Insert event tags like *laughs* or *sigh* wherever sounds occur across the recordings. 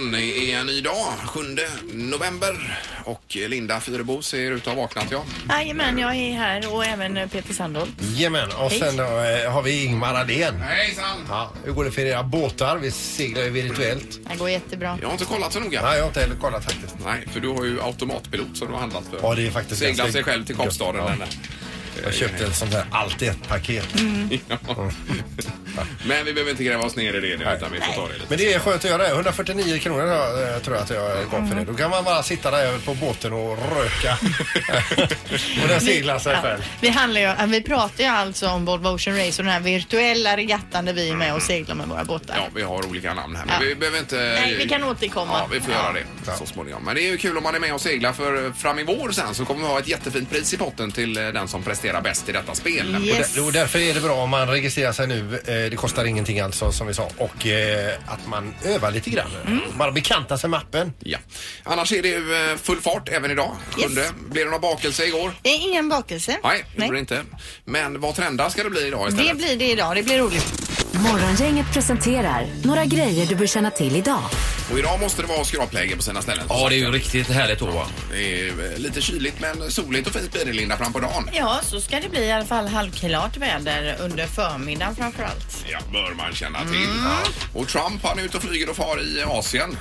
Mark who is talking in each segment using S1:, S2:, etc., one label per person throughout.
S1: Eh, en ny dag, 7 november. Och Linda Fyrebo ser ut att ha vaknat, ja.
S2: Jajamän, jag är här och även Peter Sandholt.
S3: Jajamän, och sen då, eh, har vi Ingmar Ahlén.
S1: Hejsan!
S3: Ja, hur går det för era båtar? Vi seglar ju virtuellt.
S2: Det går jättebra.
S1: Jag har inte kollat så noga.
S3: Nej, jag har inte heller kollat faktiskt.
S1: Nej, för du har ju automatpilot som du har handlat för.
S3: Ja, det är faktiskt
S1: Seglat
S3: ganska
S1: sig själv till Kapstaden.
S3: gött, ja.
S1: den där.
S3: Jag köpte ett sånt här allt i ett paket.
S1: *laughs*
S2: Mm.
S1: Ja. Men vi behöver inte gräva oss ner i det nu, utan vi får ta det lite.
S3: Men det är skönt att göra det. 149 kronor eh, tror jag att jag gav för det. Då kan man bara sitta där på båten och
S2: *laughs*
S3: röka. och den seglar sig
S2: Ja,
S3: själv.
S2: vi, handlar ju, ja, vi pratar ju alltså om Volvo Ocean Race och den här virtuella regattan där vi är med och seglar med våra båtar.
S1: Ja, vi har olika namn här, men
S2: Ja.
S1: vi behöver inte...
S2: Nej, vi kan återkomma.
S1: Ja, vi får göra det
S3: Ja.
S1: så småningom. Men det är ju kul om man är med och seglar för fram i vår sen så kommer vi ha ett jättefint pris i potten till eh, den som presterar bäst i detta spel.
S2: Ja.
S3: Och
S2: Yes.
S3: där- Och därför är det bra om man registrerar sig nu. Eh, Det kostar ingenting alltså som vi sa. Och eh, att man övar lite grann.
S2: Mm.
S3: Man bekantar sig med appen.
S1: Ja. Annars är det ju eh, full fart även idag.
S2: Yes.
S1: Sjunde. Blev det någon bakelse igår?
S2: Det är ingen bakelse.
S1: Nej, det gjorde det inte. Men vad trendar ska det bli idag istället?
S2: Det blir det idag. Det blir roligt.
S4: Morgongänget presenterar några grejer du bör känna till idag.
S1: Och idag måste det vara skrapläge på sina ställen.
S5: Ja, det är ju riktigt härligt då va?
S1: Det är eh, lite kyligt men soligt och fint blir det Linda fram på dagen.
S2: Ja, så ska det bli i alla fall halvklart väder under förmiddagen framför allt.
S1: Ja, bör man känna till.
S2: Mm.
S1: Och Trump han är ute och flyger och far i Asien.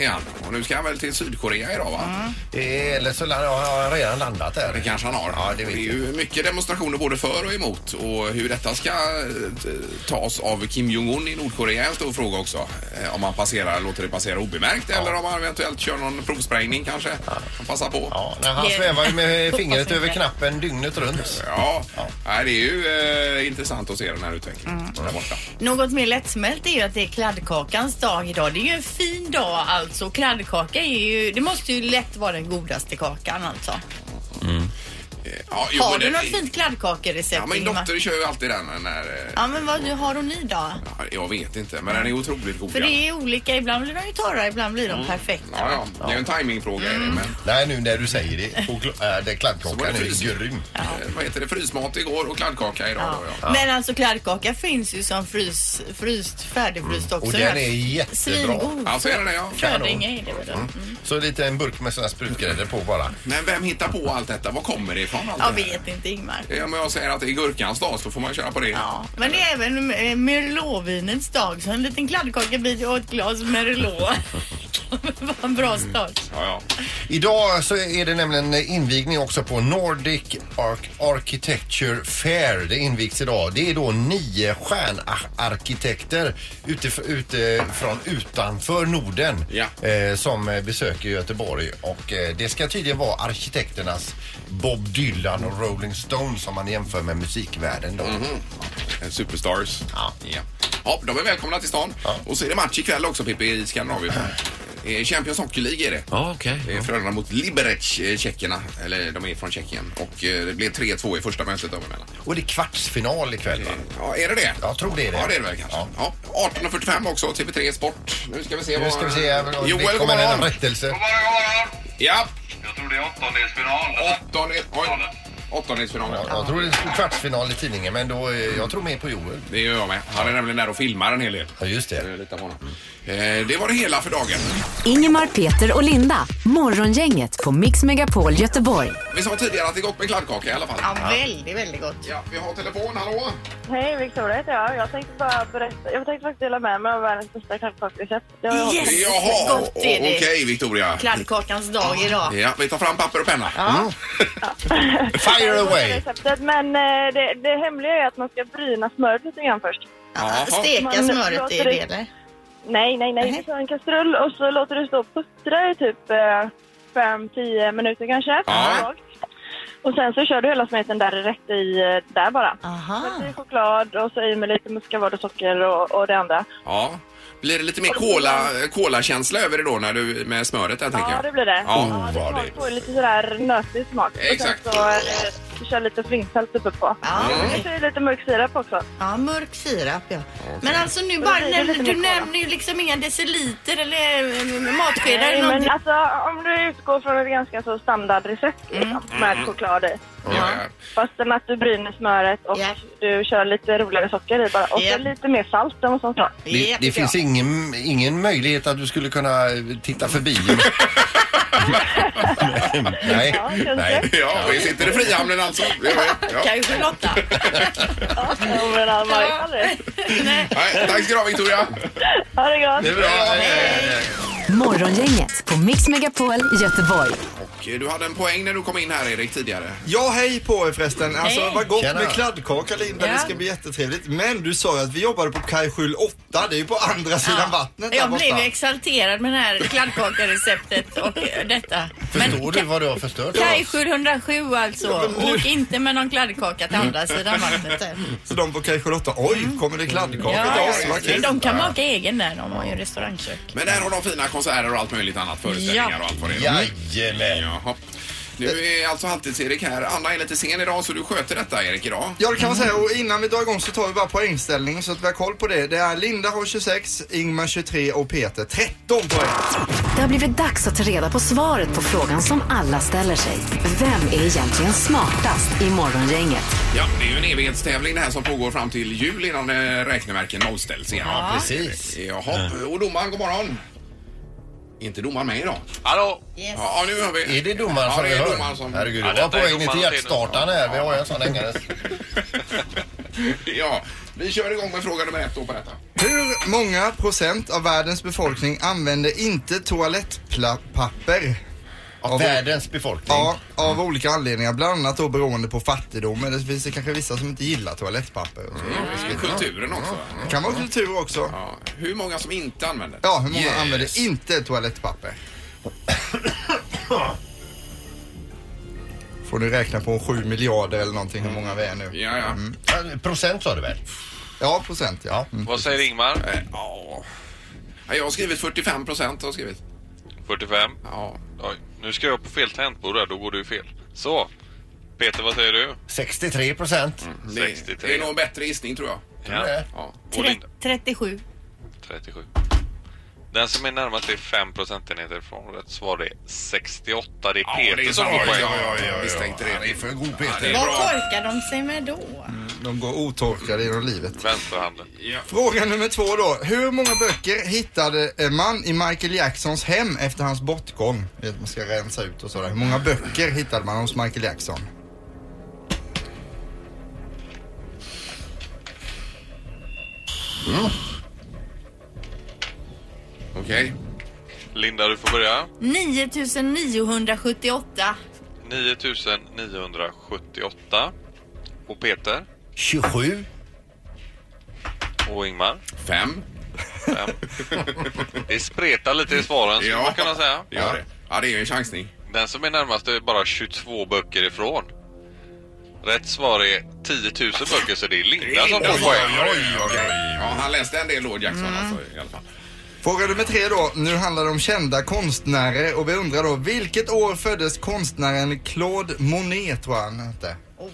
S1: Är han. Och nu ska han väl till Sydkorea idag va?
S2: Mm.
S3: Eh, Eller så lär- har jag redan landat
S1: Det
S3: där.
S1: kanske han har.
S3: Ja, det
S1: är
S3: vet jag.
S1: ju mycket demonstrationer både för och emot och hur detta ska eh, t- tas av Kim Jong-Un i Nordkorea är en stor fråga också. Eh, Om han passerar, låter det passera obemärkt eller om han eventuellt kör någon provsprängning kanske. Han passar på. Ja.
S3: Ja, nej, han
S2: Det-
S3: svävar ju
S2: *laughs*
S3: med
S2: Hoppas
S3: fingret
S2: inte.
S3: över knappen dygnet runt.
S1: Ja, Nej, det är ju eh, intressant att se den här utvecklingen där borta.
S2: Något mer lättsmält är ju att det är kladdkakans dag idag. Det är ju en fin dag alltså. Kladdkaka är ju, det måste ju lätt vara den godaste kakan alltså.
S1: Eh, Ja, jo,
S2: Har
S1: men
S2: du
S1: det-
S2: något fint kladdkakerecept
S1: Ja, min
S2: Ingemar?
S1: dotter kör ju alltid den. När, eh,
S2: Ja men vad har hon i då?
S1: ja, jag vet inte, men den är otroligt god.
S2: Mm. För
S1: ja.
S2: det är olika, ibland blir de ju torra, ibland blir de perfekta.
S1: Ja, ja, det är ju en timingfråga är det, men
S3: Nej, nu när du säger det. Och gl- äh, det
S1: Så var
S3: kladdkakan
S1: det
S3: är
S1: fryst.
S3: ju grym.
S1: eh, vad heter det? Frysmat igår och kladdkaka idag.
S2: Ja.
S1: Då, ja.
S2: Men alltså kladdkaka finns ju som frys, fryst, färdigfryst också.
S3: Mm. Och den är jättebra.
S2: Svingod.
S1: Ja, så är det, ja.
S2: Födinge är det väl? då? Mm.
S3: Så lite en burk med såna här sprutgrädde på bara.
S1: Men vem hittar på allt detta? Var kommer det ifrån? Allt
S2: Jag
S1: det här?
S2: vet inte Ingmar.
S1: Ja, men jag säger att det är gurkans dag så får man köra på det.
S2: Ja, men det är även eh, merlotvinets dag så en liten kladdkakabit och ett glas merlot *laughs* kan vara en bra start.
S1: Ja, ja.
S3: Idag så är det nämligen invigning också på Nordic Arch Architecture Fair. Det invigs idag. Det är då nio stjärnarkitekter utif- utifrån utanför Norden
S1: Ja.
S3: eh, som eh, besöker Göteborg. Och eh, det ska tydligen vara arkitekternas Bob Dylan och Rolling Stones som man jämför med musikvärlden då.
S1: Eh, Superstars.
S3: Ja.
S1: ja. Ja, de är välkomna till stan. Och så är det match ikväll också Pippi i Skandinavien. Eh, Champions Hockey League är det.
S5: Ja, okej.
S1: Det är Frölunda mot Liberec, eh, tjeckerna. Eller de är från Tjeckien. Och eh, det blev 3-2 i första mötet dem emellan.
S3: Och det är kvartsfinal ikväll va?
S1: Ja, är det det?
S3: Jag tror det är det.
S1: Ja, det är det väl kanske. Ja.
S3: Ja.
S1: 18.45 också, TV3 Sport. Nu ska vi se
S3: Nu ska vi se, om
S1: Joel,
S3: det
S1: god
S3: kommer en
S1: morgon.
S3: rättelse.
S6: God morgon, god morgon.
S1: Ja,
S6: Jag tror det är åttondelsfinal.
S1: åttondel- oj, åttondelsfinal.
S3: Ja, Jag tror det är kvartsfinal i tidningen men då, eh, jag tror med på Joel.
S1: Det gör jag med. Han är nämligen där och filmar en hel del.
S3: Ja just det.
S1: Jag litar på honom. Eh, det var det hela för dagen.
S4: Ingemar, Peter och Linda. Morgongänget på Mix Megapol Göteborg.
S1: Vi sa tidigare att det är gott med kladdkaka i alla fall.
S2: Ja, väldigt, väldigt gott.
S1: Ja, vi har telefon, hallå?
S7: Hej, Victoria heter jag. Jag tänkte bara berätta. Jag tänkte faktiskt dela med mig av världens bästa kladdkaksrecept. Det har jag
S2: Yes!
S1: Jaha,
S2: Gott
S1: o-
S2: är det.
S1: okej Victoria.
S2: Kladdkakans dag idag.
S1: Ja, vi tar fram papper och penna.
S3: Mm.
S2: *laughs*
S3: Fire away!
S7: receptet, men eh, det, det hemliga är att man ska bryna smöret lite grann först.
S1: Jaha.
S2: Steka
S7: Man
S2: smöret i
S7: låter
S2: det
S7: det-
S2: eller?
S7: Nej, nej, nej.
S2: Nej.
S7: Du tar en kastrull och så låter du stå och puttra i typ eh, fem, tio minuter kanske.
S1: Ja.
S7: Lågt. Och sen så kör du hela smeten där rätt i eh, där bara.
S2: Aha.
S7: Lite choklad och så i med lite muskavad och socker och, och det andra.
S1: Ja. Blir det lite mer cola- cola-känsla över det då när du, med smöret där tänker
S7: Ja,
S1: jag?
S7: det blir det.
S1: Ja,
S7: ja,
S3: vad
S7: det
S3: det-
S7: får ju lite sådär nötig smak.
S1: Exakt.
S7: Och sen så är det ska köra lite flingfält uppe på.
S2: Ja,
S7: Jag kör ju lite mörk sirap också.
S2: ja, mörk sirap ja. Men alltså nu bara,
S7: det är lite
S2: nämner, du
S7: mer kola.
S2: nämner ju liksom inga deciliter eller eh, matskedar
S7: Nej,
S2: eller
S7: men
S2: någonting.
S7: alltså om du utgår från ett ganska så standardrecept liksom,
S2: Mm.
S7: med choklad i.
S1: Ja, ja.
S7: Fastän att du bryner smöret och
S2: Ja.
S7: du kör lite roligare socker i bara. Och
S2: Ja.
S7: så lite mer salt än vad som står.
S3: Det, det
S2: Jättebra.
S3: finns ingen, ingen möjlighet att du skulle kunna titta förbi. nej,
S7: Ja, kanske.
S3: nej.
S1: Ja, vi sitter i Frihamnen alltså. Det var-
S2: *laughs*
S1: Ja.
S2: Kanske Lotta.
S7: Ja, men han var ju aldrig.
S2: Nej.
S1: Nej, tack ska du ha Victoria.
S7: Ha det gott!
S3: Det är bra. Eh,
S4: Morgongänget på Mix Megapol Göteborg.
S1: Och eh, du hade en poäng när du kom in här Erik tidigare.
S5: Ja, hej på er förresten. Alltså
S2: Hej.
S5: vad gott
S3: Tjena.
S5: med kladdkaka Linda,
S2: Ja.
S5: det ska bli jättetrevligt. Men du sa ju att vi jobbade på kajskjul 8, det är ju på andra sidan vattnet där
S2: Jag
S5: borta.
S2: blev ju exalterad med det här kladdkakareceptet och eh, detta.
S3: Förstår du vad du har förstört?
S2: Kaj 707 alltså. Åk inte med någon kladdkaka till andra sidan vattnet. där.
S5: Så de på kajskjul 8, oj kommer det kladdkaka till
S2: Ja,
S5: oss, vad
S2: men
S5: kul.
S2: de kan baka egen där om man gör restaurangkök.
S1: Men där har de fina konserter och allt möjligt annat. Föreställningar
S2: Ja.
S1: och allt vad det är.
S3: Jajamän.
S1: Jaha. Nu
S3: Eh.
S1: är alltså halvtids-Erik här. Anna är lite sen idag så du sköter detta Erik idag.
S5: Ja det kan man
S1: Mm.
S5: säga och innan vi drar igång så tar vi bara poängställningen så att vi har koll på det. Det är Linda har 26, Ingmar 23 och Peter 13 poäng.
S4: Det har blivit dags att ta reda på svaret på frågan som alla ställer sig. Vem är egentligen smartast i Morgongänget?
S1: Ja, det är ju en evighetstävling det här som pågår fram till jul innan eh, räkneverken nollställs igen.
S2: Ja.
S3: Precis.
S1: Jaha, och domaren, god morgon. Inte domaren med idag.
S6: Hallå!
S2: Yes.
S1: Ja, nu hör vi.
S3: Är det domaren
S1: ja,
S3: som
S1: det
S3: vi
S1: är
S3: hör?
S1: domaren som...
S3: Herregud,
S6: Ja,
S3: jag var på
S6: detta
S3: väg
S6: är
S3: ner till
S6: domarens
S3: hjärtstartaren här. Vi har ju en sån länge.
S1: *laughs* Ja, vi kör igång med fråga nummer ett då på detta.
S5: Hur många procent av världens befolkning använder inte toalettpapper? Av-
S3: Världens befolkning.
S5: Ja, av olika anledningar. Bland annat då beroende på fattigdom. Eller så finns det kanske vissa som inte gillar toalettpapper. och så.
S1: Det är Mm, kulturen också.
S5: Det kan vara kultur också.
S1: Ja, hur många som inte använder?
S5: Ja, hur många
S3: Yes.
S5: använder inte toalettpapper? Får du räkna på 7 miljarder eller någonting hur många vi är nu.
S1: Ja, ja.
S3: Eh, Procent sa du väl?
S5: Ja, procent ja. Mm.
S6: Vad säger Ingmar?
S1: Eh, ja. Ja, Jag har skrivit 45 procent. Har jag skrivit.
S6: 45.
S1: Ja.
S6: Oj, nu ska jag på fel tangentbord här, då går det ju fel. Så, Peter vad säger du?
S3: 63 procent.
S6: Mm.
S1: Det,
S6: 63.
S1: det är nog en bättre gissning tror jag.
S6: Ja.
S1: Ja.
S6: Och
S2: Tre-
S6: Linda?
S2: 37.
S6: 37. Den som är närmast är 5 procentenheter från rätt svar. Det är 68. Det är
S1: Ja, det
S6: Peter
S1: är
S6: som
S1: så.
S6: får poäng.
S1: Jag misstänkte det.
S3: Ja, Det är för god Peter.
S1: det är
S2: Vad
S1: bra.
S2: korkar de sig med då?
S5: De går otorkade genom livet.
S6: Vänsterhanden.
S1: Ja.
S5: Fråga nummer två då. Hur många böcker hittade eh, man i Michael Jacksons hem efter hans bortgång? Jag vet, Man ska rensa ut och sådär. Hur många böcker hittade man hos Michael Jackson?
S1: Okej.
S6: Linda, du får börja.
S2: 9978.
S6: 9978. Och Peter
S3: 27.
S6: och Ingmar.
S1: Fem.
S6: Fem. Det spretar lite i svaren skulle
S1: Ja.
S6: man kunna säga.
S1: Det gör det. Ja, det är ju en chansning.
S6: Den som är närmast är bara 22 böcker ifrån. Rätt svar är 10 000 böcker så det är Linda som får poäng.
S1: Ja, han läste en del Lord Jackson
S2: Mm.
S1: alltså, i alla fall.
S5: Fråga nummer tre då. Nu handlar det om kända konstnärer och vi undrar då vilket år föddes konstnären Claude Monet tror jag han hette?
S2: Oh,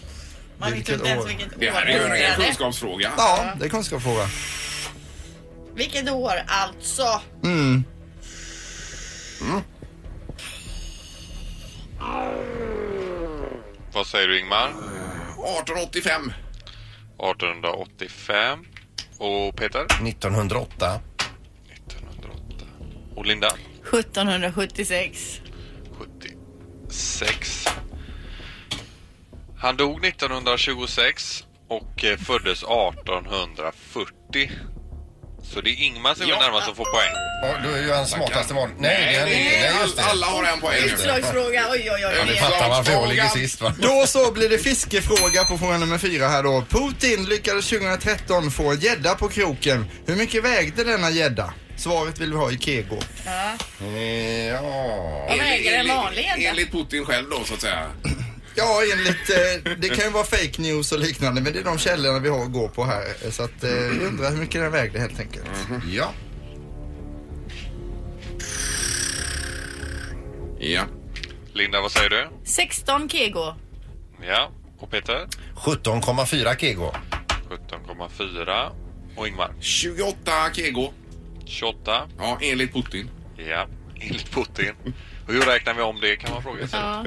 S2: man vet ju
S5: Vilket
S2: inte ens
S5: år?
S2: vilket år
S1: Det här är ju en ren
S2: det är.
S1: kunskapsfråga.
S5: Ja, det är kunskapsfråga.
S2: Vilket år alltså?
S5: Mm.
S6: Vad säger du Ingmar?
S1: 1885.
S6: 1885. Och Peter?
S3: 1908.
S6: 1908. Och Linda?
S2: 1776.
S6: 76. Han dog 1926 och eh, föddes 1840. Så det är Ingmar som är
S1: Ja.
S6: närmast som får poäng.
S3: Ja, Då är ju han smartast i morgon. Nej, det är han
S1: Nej,
S3: inte. Nej, just det.
S1: Alla har en poäng nu.
S2: Utslagsfråga. Oj, oj, oj.
S1: Ja,
S3: Ni
S1: det
S2: det-
S3: fattar varför jag ligger
S1: Frågan.
S3: sist va?
S5: Då så blir det fiskefråga på fråga nummer fyra här då. Putin lyckades 2013 få en gädda på kroken. Hur mycket vägde denna gädda? Svaret vill vi ha i kego.
S3: Ja.
S2: Vad väger en vanlig gädda?
S1: enligt Putin själv då så att säga.
S5: Ja, enligt... Eh, det kan ju vara fake news och liknande men det är de källorna vi har att gå på här. Så att eh, vi undrar hur mycket den vägde helt enkelt.
S3: Ja.
S1: Ja.
S6: Linda, vad säger du?
S2: 16 kego.
S6: Ja. Och Peter?
S3: 17,4 kego.
S6: 17,4. Och Ingmar?
S1: 28 kego.
S6: 28.
S1: Ja, enligt Putin.
S6: Ja, enligt Putin. Och hur räknar vi om det kan man fråga sig.
S2: Ja,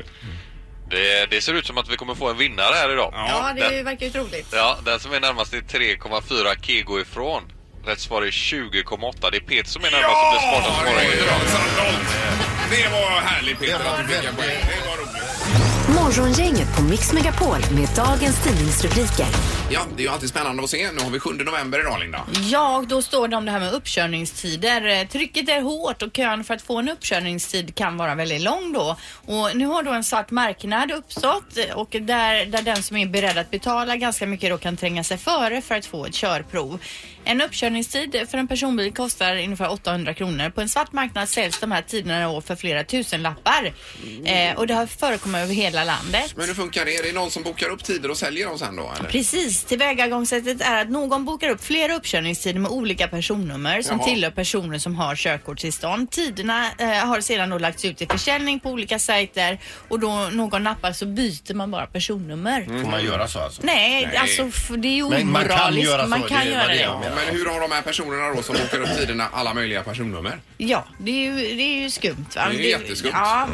S6: Det, det ser ut som att vi kommer få en vinnare här idag.
S2: ja det
S6: den-
S2: verkar ju troligt.
S6: Ja, den som är närmast är 3,4 kego ifrån. Rätt svar är 20,8. Det är Peter som är närmast och blir smartast
S1: Ja,
S6: på
S1: det är
S6: morgonen.
S1: bra. Sandholt. Det var härligt Peter
S3: Det var
S1: att du fick en
S3: väldigt-
S1: poäng. Det var roligt.
S4: Morgongänget på Mix Megapol med dagens tidningsrubriker.
S1: Ja, det är ju alltid spännande att se. Nu har vi 7 november idag Linda.
S2: Ja, och då står det om det här med uppkörningstider. Eh, Trycket är hårt och kön för att få en uppkörningstid kan vara väldigt lång då. Och nu har då en svart marknad uppstått eh, och där, där den som är beredd att betala ganska mycket då kan tränga sig före för att få ett körprov. En uppkörningstid för en personbil kostar ungefär 800 kronor. På en svart marknad säljs de här tiderna i år för flera tusen lappar. Eh, och det har förekommit över hela landet.
S1: Men hur funkar det? Är det någon som bokar upp tider och säljer dem sen då? Eller?
S2: Precis, tillvägagångssättet är att någon bokar upp flera uppkörningstider med olika personnummer som
S1: Jaha.
S2: tillhör personer som har körkortstillstånd. Tiderna eh, har sedan då lagts ut till försäljning på olika sajter och då någon nappar så byter man bara personnummer.
S3: Får man göra så alltså?
S2: Nej,
S1: Nej.
S2: alltså f- det är ju
S3: Men
S2: omoraliskt.
S3: man kan göra så,
S2: Man
S3: det
S2: kan
S3: är vad
S2: göra
S3: det
S2: det.
S3: är.
S2: Ja.
S1: Ja, men hur har de här personerna då som bokar upp tiderna alla möjliga personnummer?
S2: det är ju, det är ju skumt. Va?
S1: Det är ju jätteskumt.
S2: Ja.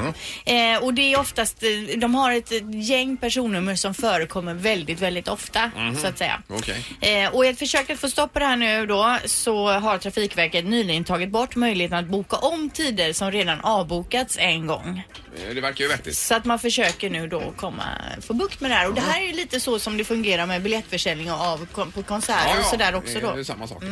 S2: Eh, och det är oftast, eh, de har ett eh, gäng personnummer som förekommer väldigt, väldigt ofta så att säga.
S1: Mhm. Okej.
S2: Eh, och i ett försök att få stopp på det här nu då så har Trafikverket nyligen tagit bort möjligheten att boka om tider som redan avbokats en gång.
S1: Eh, Det verkar ju vettigt.
S2: Så att man försöker nu då komma, få bukt med det här. Och det här är ju lite så som det fungerar med biljettförsäljning och av, kon- på konserter och sådär också
S1: Det
S2: då. Mm.
S1: är ju samma sak.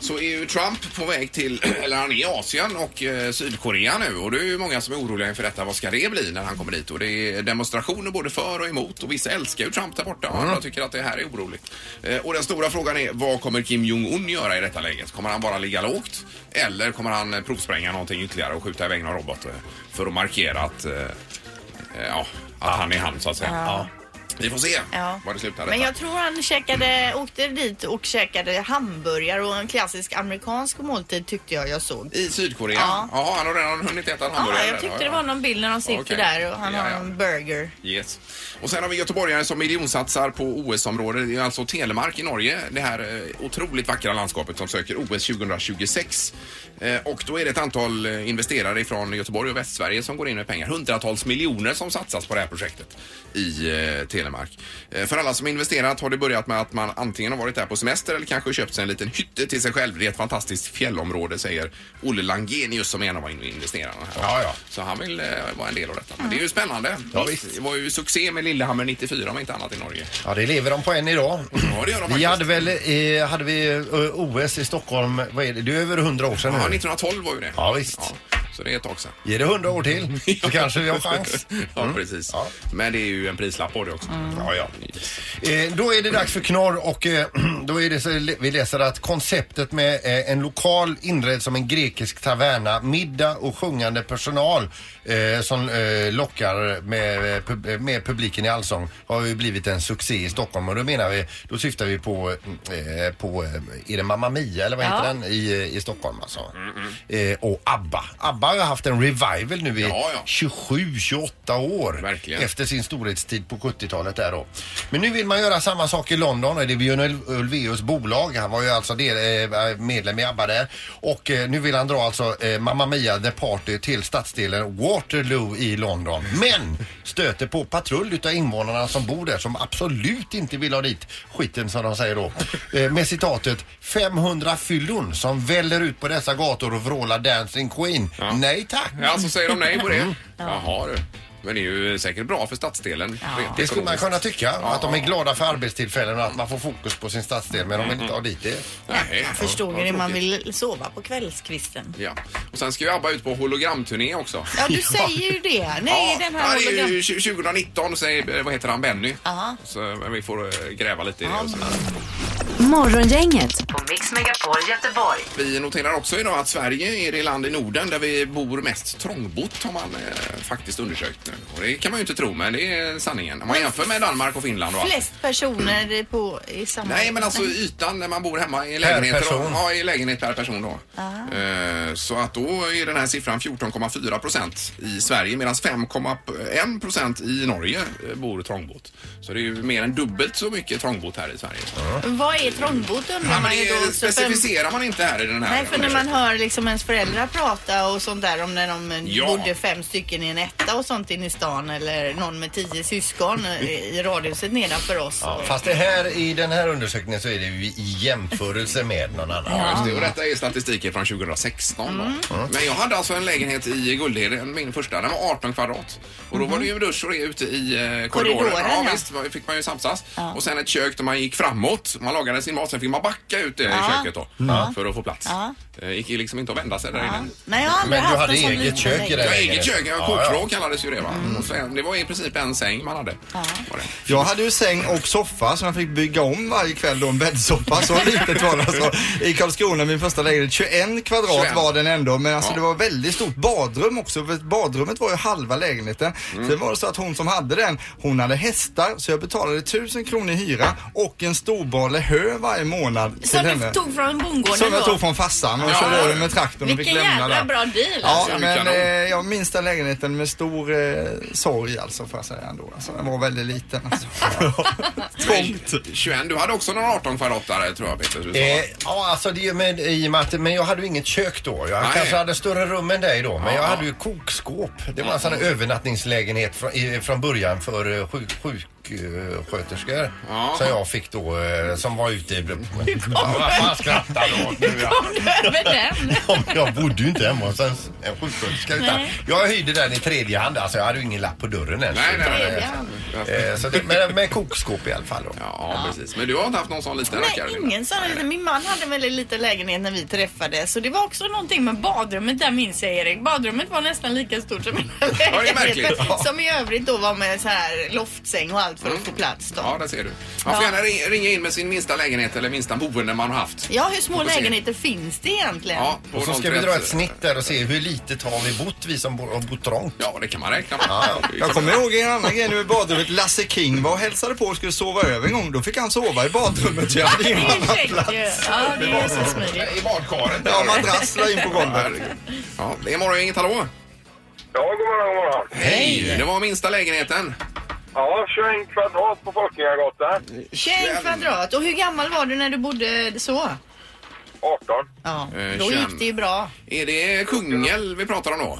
S1: Så är ju Trump på väg till, *clears throat* eller han är i Asien och eh, Sydkorea nu och det är ju många som är oroliga inför detta. Vad ska det bli när han kommer dit? Och det är demonstrationer både för och emot och vissa älskar ju Trump där borta och andra tycker att det här är oroligt. Eh, och den stora frågan är vad kommer Kim Jong-Un göra i detta läget? Kommer han bara ligga lågt? Eller kommer han eh, provspränga någonting ytterligare och skjuta iväg någon robot eh, för att markera att, eh, eh, ja, att han är han så att säga? Vi får se
S2: Ja.
S1: var det slutar.
S2: Men
S1: detta.
S2: jag tror han käkade, åkte dit och käkade hamburgare och en klassisk amerikansk måltid tyckte jag jag såg.
S1: I Sydkorea? Ja.
S2: Ja.
S1: han har redan hunnit äta en hamburgare.
S2: Ja, jag tyckte
S1: Ja,
S2: det
S1: ja.
S2: var någon bild när de sitter
S1: Okej.
S2: där och han
S1: Ja,
S2: har
S1: ja.
S2: en burger.
S1: Yes. Och sen har vi göteborgare som miljonsatsar på OS-området. Det är alltså Telemark i Norge. Det här eh, otroligt vackra landskapet som söker OS 2026. Eh, Och då är det ett antal eh, investerare från Göteborg och Västsverige som går in med pengar. Hundratals miljoner som satsas på det här projektet i eh, Telemark. Eh, För alla som investerat har det börjat med att man antingen har varit där på semester eller kanske köpt sig en liten hytte till sig själv. Det är ett fantastiskt fjällområde säger Olle Langenius som är en av investerarna här.
S3: Ja, ja.
S1: Så han vill eh, vara en del av detta. Men det är ju spännande.
S3: Ja, visst.
S1: Det var ju succé med Lillehammer 94 om inte annat i Norge.
S3: Ja, det lever de på än idag.
S1: Ja, det gör de
S3: Vi
S1: faktiskt.
S3: hade väl eh, hade vi, eh, OS i Stockholm, vad är det? Det är över 100 år sedan
S1: Ja,
S3: nu.
S1: 1912 var ju det.
S3: Ja, visst.
S1: så det är ett tag sedan.
S3: Ge det 100
S1: *laughs*
S3: år till så kanske vi har chans. Mm.
S1: Ja, precis.
S3: Ja.
S1: Men det är ju en prislapp på det också.
S2: Mm.
S3: Ja, ja. Eh, då är det dags för knorr och eh, *clears throat* då är det så, vi läser att konceptet med eh, en lokal inredd som en grekisk taverna, middag och sjungande personal eh, som eh, lockar med, eh, pub- eh, med publiken i allsång har ju blivit en succé i Stockholm och då menar vi, då syftar vi på, eh, på eh, är det Mamma Mia eller vad heter
S2: Ja.
S3: den i, eh, i Stockholm alltså? Eh, och ABBA. ABBA har haft en revival nu i
S1: Ja, ja.
S3: 27-28 år
S1: Verkligen.
S3: efter sin storhetstid på 70-talet där då. Men nu vill man göra samma sak i London och det är Björn Ul- Ulvaeus bolag. Han var ju alltså del, eh, medlem i ABBA där. Och eh, nu vill han dra alltså eh, Mamma Mia The Party till stadsdelen Waterloo i London. Men stöter på patrull utav invånarna som bor där som absolut inte vill ha dit skiten som de säger då. Eh, med citatet 500 fyllon som väller ut på dessa gator och vrålar Dancing Queen. Nej tack.
S1: Ja, så säger de nej på
S3: Mm.
S1: det. Jaha du. Men det är ju säkert bra för stadsdelen. rent
S3: Det skulle man
S1: ekonomiskt.
S3: kunna tycka. Att de är glada för arbetstillfällen och att man får fokus på sin stadsdel. Men de vill
S1: Mm.
S3: inte ha dit det.
S1: Nej,
S2: Jag förstod
S1: vad
S2: ju det, man
S1: tråkigt.
S2: vill sova
S1: *laughs*
S2: på kvällskvisten.
S1: Ja. Och sen ska ju ABBA ut på hologramturné också.
S2: Ja, du säger ju det. Nej, den här
S1: ja, det är
S2: hologram-
S1: ju 20- 2019 säger, eh, vad heter han, Benny.
S2: Aha.
S1: Så, men vi får eh, gräva lite i det. Och sådär.
S4: Morgongänget på Mix Megapol Göteborg.
S1: Vi noterar också idag att Sverige är det land i Norden där vi bor mest trångbott har man eh, faktiskt undersökt nu. Och det kan man ju inte tro men det är sanningen. Om man jämför med Danmark och Finland och allt.
S2: Flest personer i på, i samma...
S1: Nej men alltså ytan när man bor hemma i lägenheter.
S3: person.
S1: Ja, i lägenhet per person då. Eh, Så att då är den här siffran 14,4 procent i Sverige medan 5,1 procent i Norge eh, bor trångbott. Så det är ju mer än dubbelt så mycket trångbott här i Sverige.
S2: Vad är trångbott
S1: Ja,
S2: undrar
S1: men
S2: man ju då.
S1: det
S2: Så för,
S1: specificerar man inte här i den här
S2: nej, för när man
S1: undersökningen.
S2: hör liksom ens föräldrar prata och sånt där om när de eh,
S1: Ja.
S2: bodde fem stycken i en etta och sånt inne i stan eller någon med tio syskon eh, i radhuset nedanför oss. Och-
S3: Fast det här, i den här undersökningen så är det ju i jämförelse med någon annan.
S1: Ja, just det. Och detta är statistiken från 2016. Då. Men jag hade alltså en lägenhet i Guldheden, min första. Den var 18 kvadrat. Och då var det ju dusch och det ute i eh, Mhm. korridoren.
S2: Korridoren,
S1: ja,
S2: ja.
S1: visst, det fick man ju samsas. Och sen ett kök där man gick framåt. Man lagade sin mat, sen fick man backa ut i köket då. För att få plats.
S2: Ja.
S1: Det gick ju liksom inte att vända sig där inne.
S2: Nej, jag har aldrig
S3: Men du
S2: haft
S3: hade
S2: en sån
S3: eget
S2: liten
S3: kök i
S2: lägenhet.
S3: den?
S1: Ja, eget kök, ja,
S3: Ja, ja.
S1: kokvrå kallades ju det va. Och sen, det var i princip en säng man hade. Var det.
S5: Jag hade ju säng och soffa som jag fick bygga om varje kväll då, en bäddsoffa. Så litet var det alltså. I Karlskrona, min första lägenhet, 21 kvadrat
S1: 21.
S5: var den ändå. Men alltså
S1: Ja.
S5: det var väldigt stort badrum också. för Badrummet var ju halva lägenheten.
S1: Mm.
S5: Sen var det så att hon som hade den, hon hade hästar. Så jag betalade 1000 kronor i hyra och en storbale hö varje månad till
S2: Som
S5: henne.
S2: du tog från bondgården
S5: Som jag
S2: då?
S5: tog från farsan och
S1: Ja.
S5: körde över med traktorn och
S2: Vilken
S5: fick lämna
S2: jävla
S5: den.
S2: bra deal
S5: Ja,
S2: alltså.
S1: Alltså,
S5: men
S1: kanon.
S5: eh, jag minns den lägenheten med stor eh, sorg alltså får jag säga ändå. Alltså, den var väldigt liten alltså. *laughs* Trångt.
S1: 21, du hade också någon 18 kvadrat där tror jag Peter. Du sa, va?
S3: Eh, ja, alltså det är ju med, i och med att, men jag hade ju inget kök då. Jag
S1: Nej.
S3: kanske hade större rum än dig då. Men jag
S1: Ja.
S3: hade ju kokskåp. Det var en sån här övernattningslägenhet från, i, från början för eh, sjuk, sjuksköterskor.
S1: Ja.
S3: Som jag fick då, eh, som var
S1: *laughs*
S3: ute... Hur kommer
S1: Nu, ja.
S2: Kom du *laughs* över den?
S3: Ja, men jag bodde ju inte hemma hos en, en sjuksköterska. Utan
S2: Nej.
S3: jag hyrde den i tredje hand. Alltså, jag hade ju ingen lapp på dörren ens.
S1: Nej, nej, nej.
S2: Tredje hand.
S3: Eh, så det, med, med kokskåp i alla fall. Då.
S1: Ja, precis. Men du har inte haft någon sån liten
S2: Nej,
S1: rackare? Linda?
S2: ingen sån. liten. Min man hade en väldigt liten lägenhet när vi träffades. Så det var också någonting med badrummet där minns jag Erik. Badrummet var nästan lika stort som min
S1: är
S2: lägenhet.
S1: märkligt. Ja.
S2: Som i övrigt då var med så här loftsäng och allt för att få plats då.
S1: Ja, där ser du. Man får
S2: Ja.
S1: gärna ring- ringa in med sin minsta lägenhet eller minsta boende man har haft.
S2: Ja, hur små
S1: Vi får se.
S2: lägenheter finns det egentligen?
S1: Ja, på
S3: Och så ska vi
S1: 031.
S3: dra ett snitt där och se hur litet har vi bott, vi som bor, har bott trångt.
S1: Ja, det kan man räkna på.
S5: Jag kommer ihåg en annan grej nu i badrummet. Lasse King var och hälsade på och skulle sova över en gång. Då fick han sova i badrummet. Jag hade ingen
S2: Det är
S1: *laughs*
S5: annan
S2: käckt
S5: plats.
S2: ju. Ja, det är så smidigt.
S1: I badkaret.
S5: Ja, madrass la in på golvet.
S1: Herregud. Ja, det är morgon, inget hallå.
S8: Ja, god morgon, god morgon.
S1: Hej! Det var minsta lägenheten.
S8: Ja, 21 kvadrat på Folkungagatan.
S2: 21 kvadrat. Och hur gammal var du när du bodde så?
S8: 18.
S2: Ja,
S1: Eh,
S2: då
S1: 21.
S2: gick det ju bra.
S1: Är det Kungälv vi pratar om då?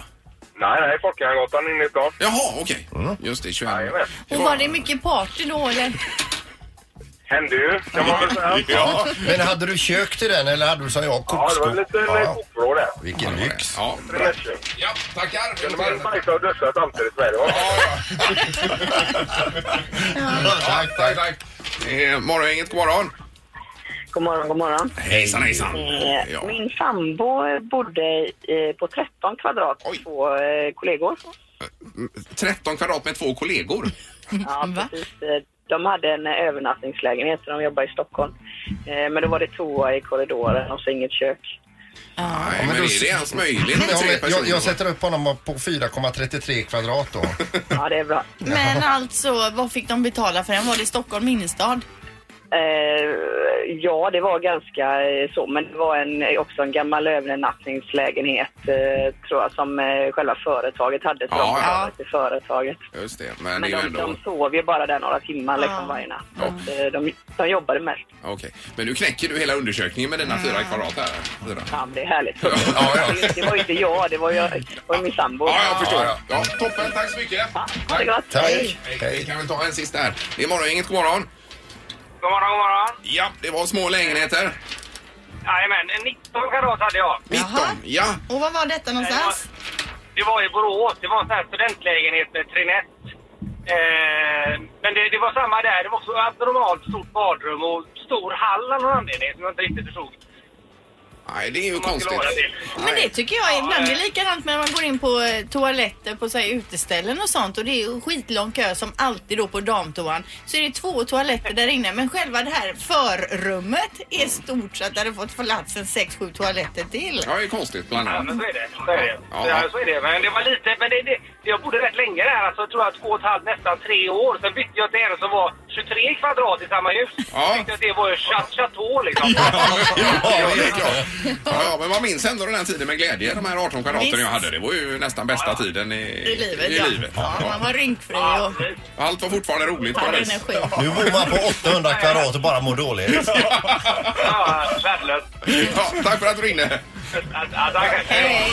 S8: Nej, nej, Folkungagatan inne i stan.
S1: Jaha, okej.
S3: Mm.
S1: Just det, 21.
S8: Jajamän.
S2: Och var det mycket party då eller?
S8: Hände ju, kan man väl
S1: *laughs*
S8: säga.
S1: Ja,
S3: Men hade du kök till den eller hade du som jag
S8: Ja, det
S3: kokskåp?
S8: var eh, lite ja. kokvrå där.
S3: Vilken lyx.
S1: ja,
S8: Det
S1: bra.
S8: är lätt.
S1: ja tackar.
S8: Kunde man bajsa och duscha samtidigt med det. va?
S1: Tack, tack, tack. Det är morgon, inget god morgon.
S7: God morgon, god morgon.
S1: Hejsan, hejsan.
S7: Eh,
S1: Ja.
S7: Min sambo bodde eh, på 13 kvadrat
S1: Oj.
S7: med två eh, kollegor.
S1: 13 kvadrat med två kollegor.
S7: Ja,
S2: Va?
S7: precis. Eh, De hade en eh, övernattningslägenhet så de jobbar i Stockholm. Eh, Men då var det toa i korridoren och så inget kök.
S1: Nej, men
S3: då-
S1: är det ens möjligt med
S3: Ja,
S1: tre
S3: men,
S1: personer?
S3: jag, jag sätter upp honom på 4,33 kvadrat då.
S7: Ja, det är bra.
S2: Men alltså, vad fick de betala för den? Var det Stockholm innerstad?
S7: Eh, Ja, det var ganska eh, så, men det var en, eh, också en gammal övernattningslägenhet eh, tror jag som eh, själva företaget hade. Så
S1: Ja,
S7: de
S1: ja.
S7: betalade till företaget.
S1: Just det, men,
S7: Men
S1: det är ju
S7: de,
S1: ändå...
S7: de sov ju bara där några timmar
S2: Ja.
S8: Ah.
S7: liksom varje natt.
S1: Ja.
S7: Så att, eh, De, de jobbade mest.
S1: Okej, men nu knäcker du hela undersökningen med dina fyra kvadrat här. Fyra.
S7: Ja, men det är härligt.
S1: Ja, ja.
S7: Det- Det var ju inte jag, det var, jag, det var ju min sambo.
S1: Ja, jag förstår. Ja, toppen, tack så mycket.
S7: Ha det gott.
S3: Tack.
S1: Hej. Vi kan väl ta en sista här. Det är morgon, inget god morgon.
S8: God morgon, god morgon.
S1: Ja, det var små lägenheter.
S8: Jajamän, 19 kvadrat hade jag.
S1: 19,
S2: Jaha.
S1: ja.
S2: Och var var detta någonstans?
S8: Det var i Borås. Det var en sån här studentlägenhet med trinett. Eh, men det, det var samma där. Det var också abnormalt stort badrum och stor hall av någon anledning som jag inte riktigt förstod.
S1: Nej, det är ju
S8: man skulle
S1: konstigt.
S8: ha det till.
S2: Men det tycker jag
S8: Ja,
S2: ibland. Det är
S8: eh.
S2: likadant när man går in på eh, toaletter på så här, uteställen och sånt och det är ju skitlång kö som alltid då på damtoan. Så är det två toaletter där inne men själva det här förrummet är stort så att det hade fått plats en sex, sju toaletter till.
S1: Ja, det är konstigt bland
S8: Ja,
S1: annat.
S8: men så är det. Så är det.
S1: Ja.
S8: Ja, så är det. Men det var lite, men det, det, jag bodde rätt länge där, alltså jag tror jag två och ett halvt, nästan tre år. Sen bytte jag till en som var 23 kvadrat i samma hus.
S1: Ja.
S8: Jag tänkte att det var ju chat- chateau liksom.
S1: Ja, det är klart. Ja, ja, men man minns ändå den här tiden med glädje. De här 18 kvadraten
S2: Visst.
S1: jag hade. Det var ju nästan bästa tiden i,
S2: I livet, ja.
S1: Ja,
S2: ja. Man var rynkfri
S8: Ja,
S2: och
S8: precis.
S1: Allt var fortfarande roligt på
S2: hade
S1: något vis.
S2: energi.
S3: Nu bor man på 800 kvadrat och bara mår dåligt.
S8: ja, värdelöst.
S1: Ja, tack för att du ringde.
S8: Ja, ja, tack.
S2: Hej.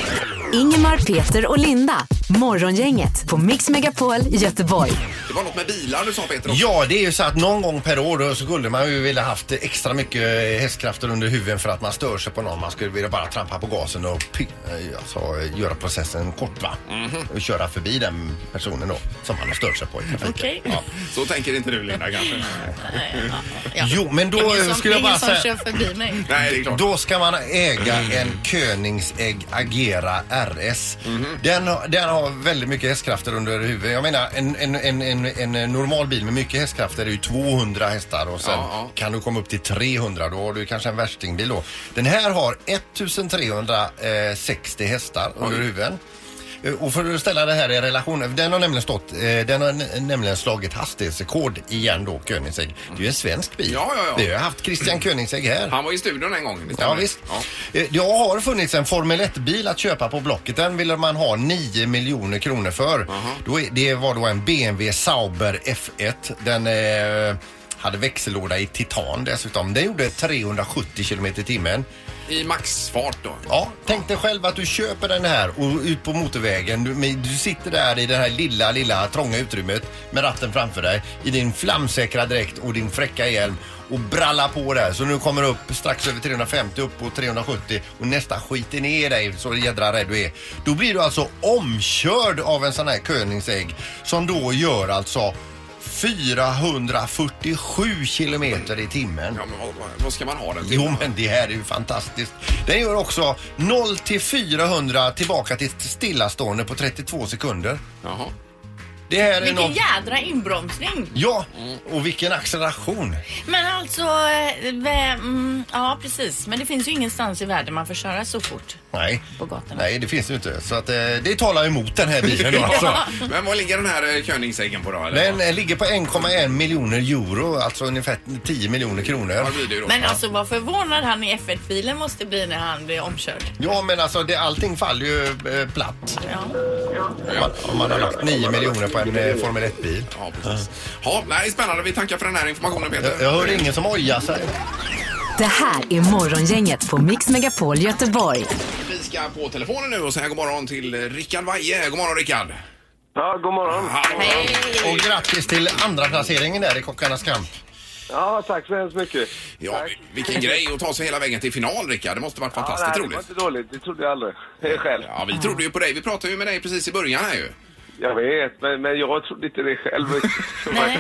S4: Ingemar, Peter och Linda. Morgongänget på Mix Megapol Göteborg.
S1: Det var något med bilar du sa Peter också.
S3: Ja, det är ju så att någon gång per år då så skulle man ju vilja haft extra mycket eh, hästkrafter under huven för att man stör sig på någon. Man skulle vilja bara trampa på gasen och pi- eh, alltså, göra processen kort va?
S2: Mhm.
S3: Och köra förbi den personen då som man har stört sig på i trafiken.
S2: Okej.
S3: Ja.
S1: Så tänker inte du Linda kanske? Nej,
S2: Ja.
S3: Jo, men då
S2: Ingen som,
S3: skulle jag bara
S2: ingen som
S3: säga...
S2: kör förbi mig.
S1: Nej det är klart.
S3: Då ska man äga en Königsegg Agera RS. Den, har- den har väldigt mycket hästkrafter under huvudet. Jag menar en, en, en, en, en normal bil med mycket hästkrafter är ju 200 hästar och sen
S1: Ja, ja.
S3: kan du komma upp till 300. Då har du kanske en värstingbil då. Den här har 1360 hästar under huven. Eh, Och för att ställa det här i relation, den har nämligen stått, eh, den har n- nämligen slagit hastighetsrekord igen då, Königsegg. Det är ju en svensk bil.
S1: Ja, ja, ja.
S3: Vi har ju haft Christian Königsegg här.
S1: Han var i studion en gång. det
S3: Ja,
S1: stämmer.
S3: visst.
S1: Ja.
S3: Eh, Det har funnits en Formel 1-bil att köpa på Blocket. Den ville man ha 9 miljoner kronor för. Då är, det var då en BMW Sauber F1. Den eh, hade växellåda i titan dessutom. Den gjorde 370 km i timmen.
S1: I maxfart då.
S3: Ja, tänk dig själv att du köper den här och ut på motorvägen. Du, men du sitter där i det här lilla, lilla trånga utrymmet med ratten framför dig i din flamsäkra dräkt och din fräcka hjälm och brallar på där. Så nu kommer du upp strax över 350, upp på 370 och nästan skiter ner dig så jädra rädd du är. Då blir du alltså omkörd av en sån här Königsegg som då gör alltså 447 kilometer i timmen.
S1: Ja, men vad, vad- vad ska man ha den till?
S3: Jo men det här är ju fantastiskt. Den gör också 0 till 400 tillbaka till stillastående på 32 sekunder.
S1: Jaha.
S3: Det här är
S2: Vilken
S3: något...
S2: jädra inbromsning.
S3: Ja, och vilken acceleration.
S2: Men alltså, eh, vem, ja precis. Men det finns ju ingenstans i världen man får köra så fort.
S3: Nej,
S2: På gatorna.
S3: Nej det finns ju inte. Så att, eh, det talar emot den här bilen
S2: *laughs*
S3: då, alltså.
S1: Men vad ligger den här eh, Königseggen på då? Eller?
S3: Den eh, ligger på 1,1 miljoner euro, alltså ungefär 10 miljoner kronor.
S1: Vad blir det då?
S2: Men alltså vad förvånad han i F1-bilen måste bli när han blir omkörd.
S3: Ja men alltså det, allting faller ju eh, platt
S2: Ja.
S3: om man, om man har lagt 9 miljoner på en eh, Formel 1-bil.
S1: Ja, precis. Ja, nej, spännande. Vi tackar för den här informationen Peter.
S3: Jag, jag hör ingen som ojar sig.
S4: Det här är Morgongänget på Mix Megapol Göteborg.
S1: Vi ska på telefonen nu och säga god morgon till eh, Rickard Waje. God morgon Rickard!
S9: Ja, god morgon.
S1: Hej!
S3: Och grattis till andra placeringen där i Kockarnas kamp.
S9: Ja, tack så hemskt mycket.
S1: Ja,
S9: Tack.
S1: vilken grej att ta sig hela vägen till final Rickard. Det måste varit
S9: Ja,
S1: fantastiskt
S9: nej, Det var
S1: roligt.
S9: inte dåligt. Det trodde jag aldrig. Eh, Själv.
S1: Ja, vi trodde ju på dig. Vi pratade ju med dig precis i början här ju.
S9: Jag vet, men, men jag trodde inte det
S1: *laughs*
S9: själv.
S2: Nej.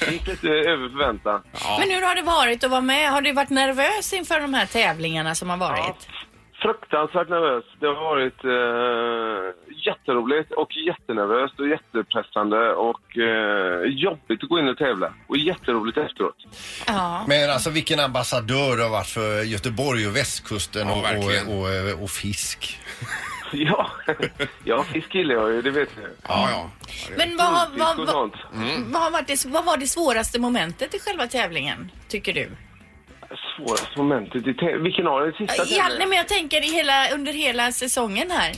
S9: Det gick lite över förväntan.
S2: Men hur har det varit att vara med? Har du varit nervös inför de här tävlingarna som har varit?
S9: Fruktansvärt nervös. Det har varit eh, jätteroligt och jättenervöst och jättepressande och eh, jobbigt att gå in och tävla. Och jätteroligt efteråt. *laughs*
S2: Ja.
S3: Men alltså vilken ambassadör du har varit för Göteborg och västkusten
S1: Ja,
S3: och,
S1: verkligen.
S3: och, och, och fisk.
S9: Ja, ja fisk gillar jag ju, det vet jag.
S1: Ja, ja.
S2: Men vad, har-
S9: Fisk
S2: vad,
S9: och Mm.
S2: vad,
S9: sånt.
S2: vad, har varit det, vad var det svåraste momentet i själva tävlingen, tycker du?
S9: Svåraste momentet i täv- Vilken av de sista
S2: I all, nej, men jag tänker i hela, under hela säsongen här.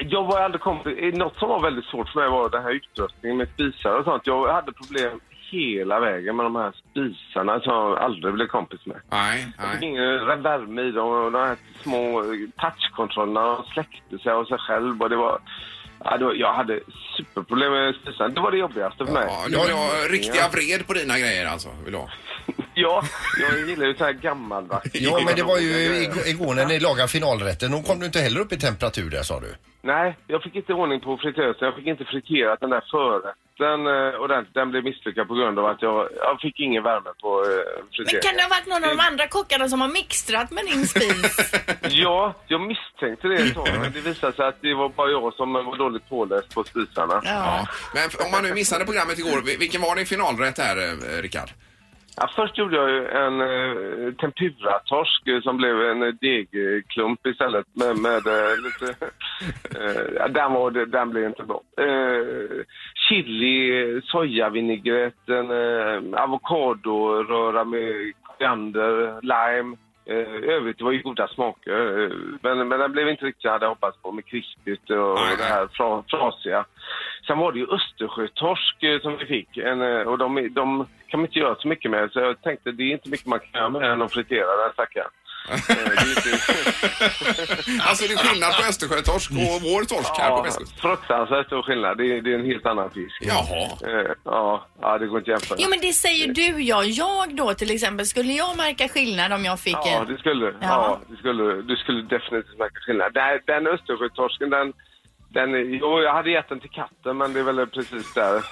S9: Jag var aldrig kompis. Något som var väldigt svårt för mig var den här utrustningen med spisar och sånt. Jag hade problem hela vägen med de här spisarna som jag aldrig blev kompis med.
S1: Nej,
S9: Jag fick
S1: nej.
S9: ingen värme i dem och de här små eh, touchkontrollerna de släckte sig av sig själv och det var... Ja, det var jag hade superproblem med spisarna. Det var det jobbigaste för mig.
S1: Ja, nu vill jag riktiga vred på dina grejer alltså. Vill jag.
S9: Ja, jag gillar ju så här gammaldags.
S3: *laughs* Ja, men det var ju igår, igår när ni lagade finalrätten. Då kom du inte heller upp i temperatur där sa du.
S9: Nej, jag fick inte ordning på fritösen. Jag fick inte friterat den där förrätten eh, och den, den blev misslyckad på grund av att jag, jag fick ingen värme på eh,
S2: Men kan
S9: friteringen.
S2: det ha varit någon av de andra kockarna som har mixtrat med din spis?
S9: *laughs* Ja, jag misstänkte det ett tag, men det visade sig att det var bara jag som var dåligt påläst på spisarna.
S2: Ja.
S1: Ja. Men f- om man nu missade programmet igår, vil- vilken var din finalrätt här, eh, Rickard?
S9: *laughs* Ja, först gjorde jag ju en eh, tempuratorsk eh, som blev en eh, degklump istället med, med eh, lite... Eh, ja, den, var, den blev inte bra. Eh, chili, eh, sojavinägrett, en eh, avokadoröra med koriander, lime. Eh, övrigt det var ju goda smaker, eh, men, men den blev inte riktigt jag hade hoppats på med krispigt och
S1: Nej,
S9: det
S1: nej.
S9: här fra, frasiga. Sen var det ju östersjötorsk eh, som vi fick en, eh, och de, de kan man inte göra så mycket med så jag tänkte det är inte mycket man kan göra med den och fritera den stackaren. Eh, det är inte-
S1: Alltså det är skillnad på östersjötorsk och vår torsk här på
S9: Ja,
S1: västkusten.
S9: fruktansvärt stor skillnad. Det är, det är en helt annan fisk.
S1: Jaha.
S9: Eh, Ja, ja det går inte att jämföra.
S2: Jo men det säger du ja. Jag då till exempel, skulle jag märka skillnad om jag fick
S9: Ja,
S2: en?
S9: det skulle du.
S2: Ja.
S9: Ja, det skulle du. Du skulle definitivt märka skillnad. Den, den Östersjötorsken, den... den är- jo, jag hade gett den till katten, men det är väl precis där.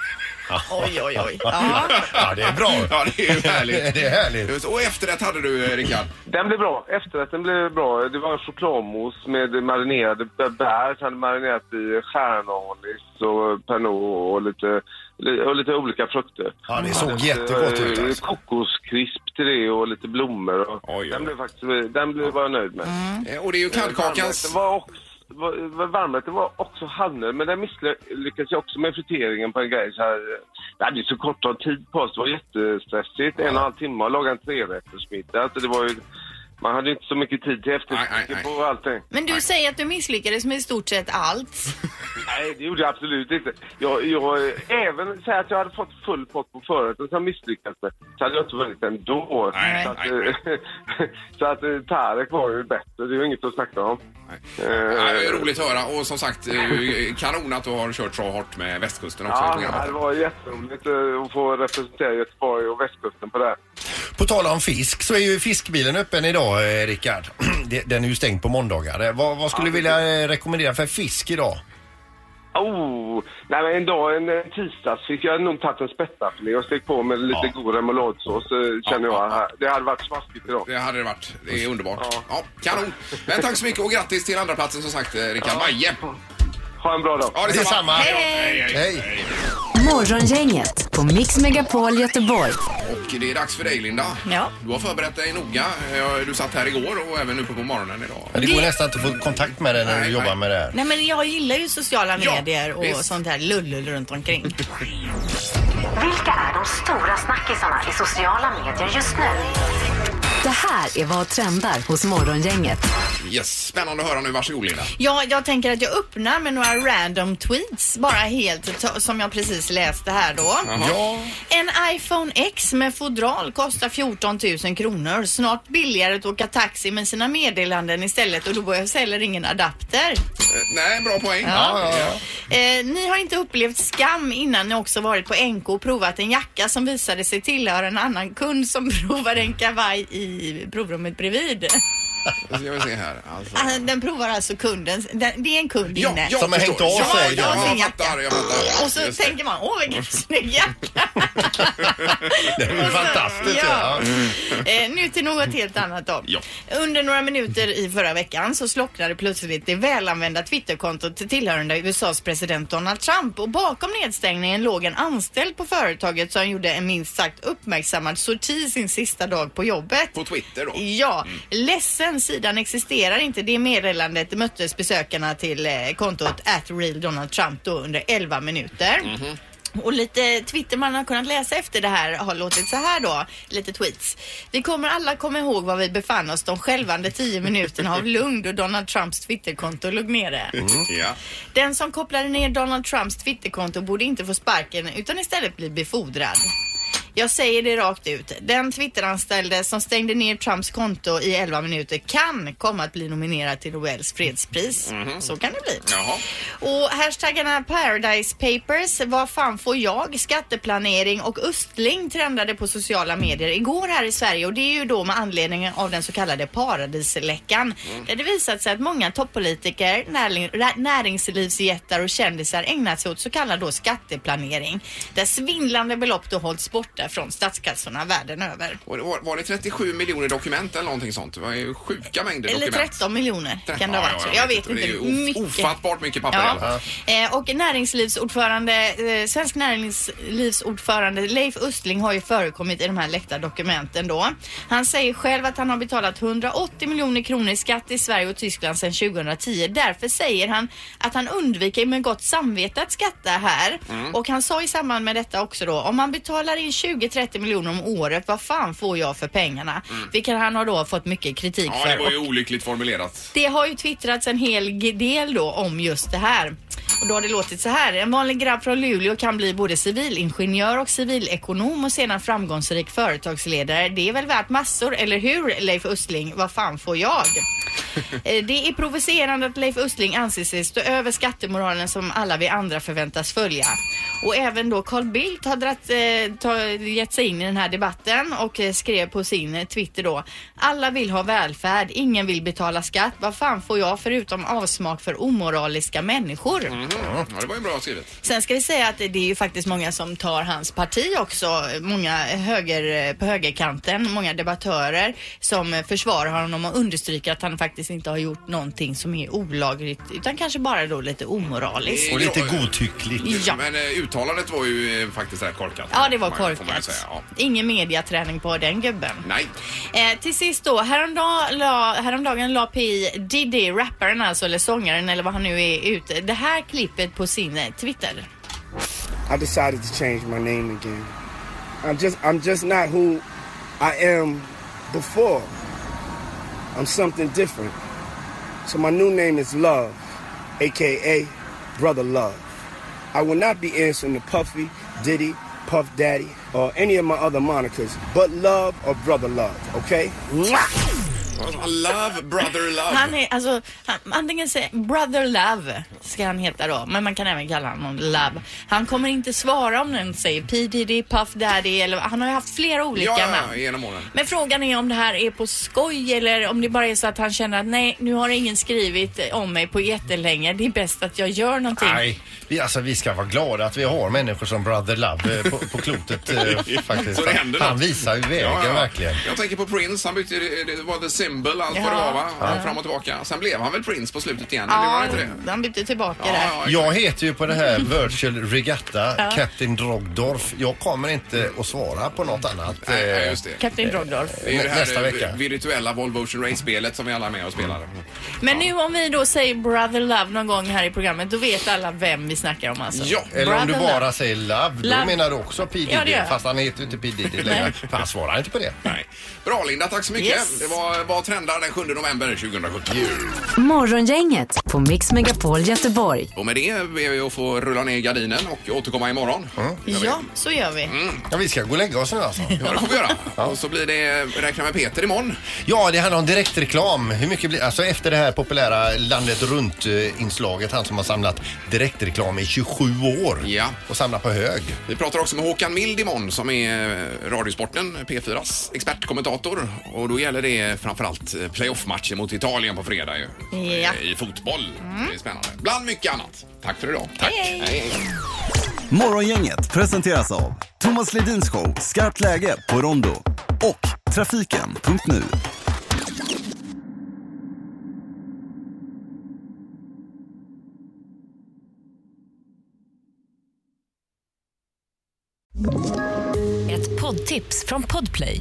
S2: Oj, oj, oj. Ja.
S3: Ja, det är *laughs* bra.
S1: Ja, det är ju härligt.
S3: Det är härligt.
S1: Just, Och efterrätt hade du, eh, Rickard.
S9: Den blev bra. Efterrätten blev bra. Det var chokladmos med marinerade b- bär. Så hade marinerat i stjärnanis och pernod och lite, li- och lite olika frukter.
S3: Ja, det såg jättegott ut
S9: Eh,
S3: alltså.
S9: Kokoskrisp till det och lite blommor. Och
S1: Oj, oj, oj.
S9: Den blev faktiskt, eh, den blev jag nöjd med.
S1: Eh, Och det är ju kladdkakans...
S9: Varmrätten var också, var, var- varmrätten var också handel, men den misslyckades jag också med friteringen på en grej. Så här, eh, vi hade ju så kort om tid på oss, det var jättestressigt. En och en halv timme att laga en trerättersmiddag. Alltså det var ju, man hade ju inte så mycket tid till
S1: Nej, nej,
S9: eftertanke
S1: nej.
S9: på allting.
S2: Men du säger att du misslyckades med i stort sett allt.
S9: Nej, det gjorde jag absolut inte. Jag, jag, eh, även säga att jag hade fått full pott på förrätten som misslyckats med, så hade jag inte vunnit ändå.
S1: Nej,
S9: så, att,
S1: nej,
S9: eh, *laughs* så att eh, Tarek var ju bättre, det är ju inget att snacka om.
S1: Nej.
S9: Eh,
S1: Ja, det är roligt att höra och som sagt eh, kanon att du har kört så hårt med västkusten också i
S9: Ja, det
S1: programmet.
S9: var jätteroligt eh, att få representera Göteborg och västkusten på det. här.
S3: På tal om fisk så är ju fiskbilen öppen idag, eh, Rickard. *clears throat* Det- Den är ju stängd på måndagar. Eh, Vad, vad skulle du vilja eh, rekommendera för fisk idag?
S9: Oh, nej, men en dag, en eh, tisdagsfisk. Jag hade nog tagit en spettafilé och stekt på med lite
S3: Ja.
S9: god remouladsås, eh, känner
S1: Ja,
S9: jag. Det hade varit smaskigt idag.
S1: Det hade det varit. Det är underbart.
S9: Ja.
S1: Ja, kanon. Men tack så mycket och grattis till andra platsen som sagt, eh, Rickard Maje.
S9: Ha en bra dag.
S1: Ja,
S3: Detsamma.
S1: Hej, hej.
S3: Hej.
S4: Morgongänget på Mix Megapol Göteborg.
S1: Och det är dags för dig Linda.
S2: Ja.
S1: Du har förberett dig noga. Eh, Du satt här igår och även nu på morgonen idag.
S3: Men det går nästan inte att få kontakt med dig när du
S1: Nej,
S3: jobbar
S1: nej.
S3: med det här.
S2: Nej men jag gillar ju sociala
S1: Ja,
S2: medier och
S1: visst.
S2: sånt här lullul runt omkring.
S4: Vilka är de stora snackisarna i sociala medier just nu? Det här är vad trendar hos Morgongänget.
S1: Yes, spännande att höra nu. Varsågod Linda.
S2: Ja, jag tänker att jag öppnar med några random tweets bara helt t- som jag precis läste här då.
S1: Ja.
S2: En iPhone X med fodral kostar 14 000 kronor. Snart billigare att åka taxi med sina meddelanden istället och då behövs heller ingen adapter.
S1: Nej, bra poäng.
S2: Ja.
S1: Ja.
S2: Eh, ni har inte upplevt skam innan ni också varit på NK och provat en jacka som visade sig tillhöra en annan kund som *laughs* provade en kavaj i provrummet bredvid.
S1: Då ska vi se här. Alltså.
S2: Ah, Den provar alltså kunden. Den, det är en kund inne.
S1: jag
S3: Som har
S1: förstår.
S3: hängt av
S1: ja,
S3: sig.
S1: Ja,
S2: Ja,
S1: jag fattar, jag fattar.
S2: Och så
S1: Just det.
S2: tänker man,
S1: *laughs*
S2: åh vilken snygg jacka.
S3: Det är ju
S2: Och så-
S3: fantastiskt.
S2: ja.
S3: Ja.
S2: Eh, nu till något helt annat då.
S1: Ja.
S2: Under några minuter i förra veckan så slocknade plötsligt det välanvända Twitterkontot tillhörande USAs president Donald Trump och bakom nedstängningen låg en anställd på företaget som gjorde en minst sagt uppmärksammad sorti sin sista dag på jobbet.
S1: På Twitter då? Mm.
S2: Ja, ledsen sidan existerar inte. Det meddelandet möttes besökarna till eh, kontot at real Donald Trump då under 11 minuter.
S1: Mhm.
S2: Och lite Twitter man har kunnat läsa efter det här har låtit så här då, lite tweets. Vi kommer alla komma ihåg var vi befann oss de skälvande 10 minuterna av lugn då Donald Trumps Twitterkonto låg nere.
S1: Mm. Ja.
S2: Den som kopplade ner Donald Trumps Twitterkonto borde inte få sparken utan istället bli befordrad. Jag säger det rakt ut. Den Twitteranställde som stängde ner Trumps konto i 11 minuter kan komma att bli nominerad till Nobels fredspris. Så kan det bli.
S1: Jaha.
S2: Och hashtaggarna Paradise Papers, Vad fan får jag, Skatteplanering och Östling trendade på sociala medier igår här i Sverige och det är ju då med anledning av den så kallade paradisläckan.
S1: Mm.
S2: Där det visat sig att många toppolitiker, närling, ra- näringslivsjättar och kändisar ägnat sig åt så kallad då skatteplanering. Där svindlande belopp då hålls borta från statskassorna världen över.
S1: Och det var, var det 37 miljoner dokument eller någonting sånt? Det var ju sjuka mängder
S2: Eller
S1: dokument.
S2: 13 miljoner kan det ha
S1: Ja,
S2: varit.
S1: ja,
S2: så. Jag vet inte.
S1: Det är ju of-
S2: mycket.
S1: ofattbart mycket papper.
S2: Ja. Eh, och näringslivsordförande, eh, svensk näringslivsordförande Leif Östling har ju förekommit i de här läckta dokumenten då. Han säger själv att han har betalat 180 miljoner kronor i skatt i Sverige och Tyskland sedan 2010. Därför säger han att han undviker med gott samvete att skatta här.
S1: Mm.
S2: Och han sa i samband med detta också då, om man betalar in 20-30 miljoner om året, vad fan får jag för pengarna? Vilket han har då fått mycket kritik
S1: Mm. Ja,
S2: för.
S1: det var ju
S2: Och-
S1: olyckligt formulerat.
S2: det har ju twittrats en hel del då om just det här. Och då har det låtit så här. En vanlig grabb från Luleå kan bli både civilingenjör och civilekonom och sedan framgångsrik företagsledare. Det är väl värt massor, eller hur Leif Östling? Vad fan får jag? Eh, Det är provocerande att Leif Östling anser sig stå över skattemoralen som alla vi andra förväntas följa. Och även då Carl Bildt har dratt, eh, ta, gett sig in i den här debatten och eh, skrev på sin eh, Twitter då. Alla vill ha välfärd, ingen vill betala skatt. Vad fan får jag förutom avsmak för omoraliska människor?
S1: Mhm. Ja, det var ju bra skrivet.
S2: Sen ska vi säga att det är ju faktiskt många som tar hans parti också. Många höger, på högerkanten, många debattörer som försvarar honom och understryker att han faktiskt inte har gjort någonting som är olagligt utan kanske bara då lite omoraliskt.
S1: Det är
S3: Och lite
S1: bra.
S3: godtyckligt.
S2: Ja.
S1: Men eh, uttalandet var ju eh, faktiskt rätt korkat.
S2: Ja, det var
S1: Får man- får man ju
S2: korkat.
S1: säga, ja.
S2: Ingen mediaträning på den gubben.
S1: Nej.
S2: Eh, till sist då, häromdagen la, häromdagen la PI Diddy, rapparen alltså, eller sångaren eller vad han nu är, ut det här klippet på sin eh, Twitter.
S8: I decided to change my name again. I'm just I'm just not who I am before. I'm something different. So my new name is Love, aka Brother Love. I will not be answering to Puffy, Diddy, Puff Daddy, or any of my other monikers, but Love or Brother Love, okay?
S1: Love, brother love.
S2: Han är alltså, han, antingen säger Brother Love ska han heta då, men man kan även kalla honom Love. Han kommer inte svara om den säger P Diddy, Puff Daddy eller han har ju haft flera olika
S1: ja, ja,
S2: namn.
S1: genom åren.
S2: Men frågan är om det här är på skoj eller om det bara är så att han känner att nej, nu har ingen skrivit om mig på jättelänge. Det är bäst att jag gör någonting.
S3: Nej, vi, alltså, vi ska vara glada att vi har människor som Brother Love eh, på, på
S1: *laughs*
S3: klotet eh, faktiskt.
S1: Så det händer
S3: han, han
S1: något.
S3: visar ju vägen
S1: Ja, ja.
S3: verkligen.
S1: Jag tänker på Prince, han bytte, ju- eh, det var The Symbol, allt vad det var va? Fram och tillbaka. Sen blev han väl Prince på slutet igen, eller var
S2: Ja,
S1: det inte det?
S2: han bytte tillbaka
S1: Ja,
S2: där.
S1: ja, exakt.
S3: Jag heter ju på det här Virtual Regatta Captain Drogdorf. Jag kommer inte att svara på något annat.
S1: Nej,
S3: eh,
S1: nej, just det.
S2: Kapten Drogdorf.
S1: Det är ju det här
S3: Nästa
S1: eh,
S3: vecka.
S1: virtuella Volvo Ocean Race-spelet som vi alla är med och spelar.
S2: Men nu om vi då säger Brother Love någon gång här i programmet, då vet alla vem vi snackar om alltså.
S1: Ja,
S3: Eller om du
S2: Brother Love.
S3: bara säger Love, då
S2: Love.
S3: menar du också P Diddy.
S2: Ja, det gör jag.
S3: fast han heter ju inte P Diddy längre. För han svarar inte på det.
S1: Nej. Bra Linda, tack så mycket.
S2: Yes.
S1: Det var Vad trendar den 7 november 2017.
S4: Morgongänget på Mix Megapol Göteborg.
S1: Och med det ber vi att få rulla ner gardinen och återkomma imorgon.
S2: Ja, så gör vi.
S3: Ja, vi ska gå och lägga oss nu alltså.
S1: Ja, det får vi göra. Och så blir det Räkna med Peter imorgon.
S3: Ja, det handlar om direktreklam. Hur mycket blir, alltså efter det här populära landet runt-inslaget, han som har samlat direktreklam i 27 år
S1: Ja.
S3: och samlat på hög.
S1: Vi pratar också med Håkan Mild imorgon som är eh, Radiosporten, P4s expertkommentator. Och då gäller det framförallt eh, playoffmatchen mot Italien på fredag ju.
S2: Ja.
S1: Eh, I fotboll. Det är spännande. Bland mycket annat. Tack för idag. Tack.
S2: hej.
S10: Morgongänget presenteras av Thomas Ledins show Skarpt läge på Rondo och Trafiken.nu.
S4: Ett poddtips från Podplay.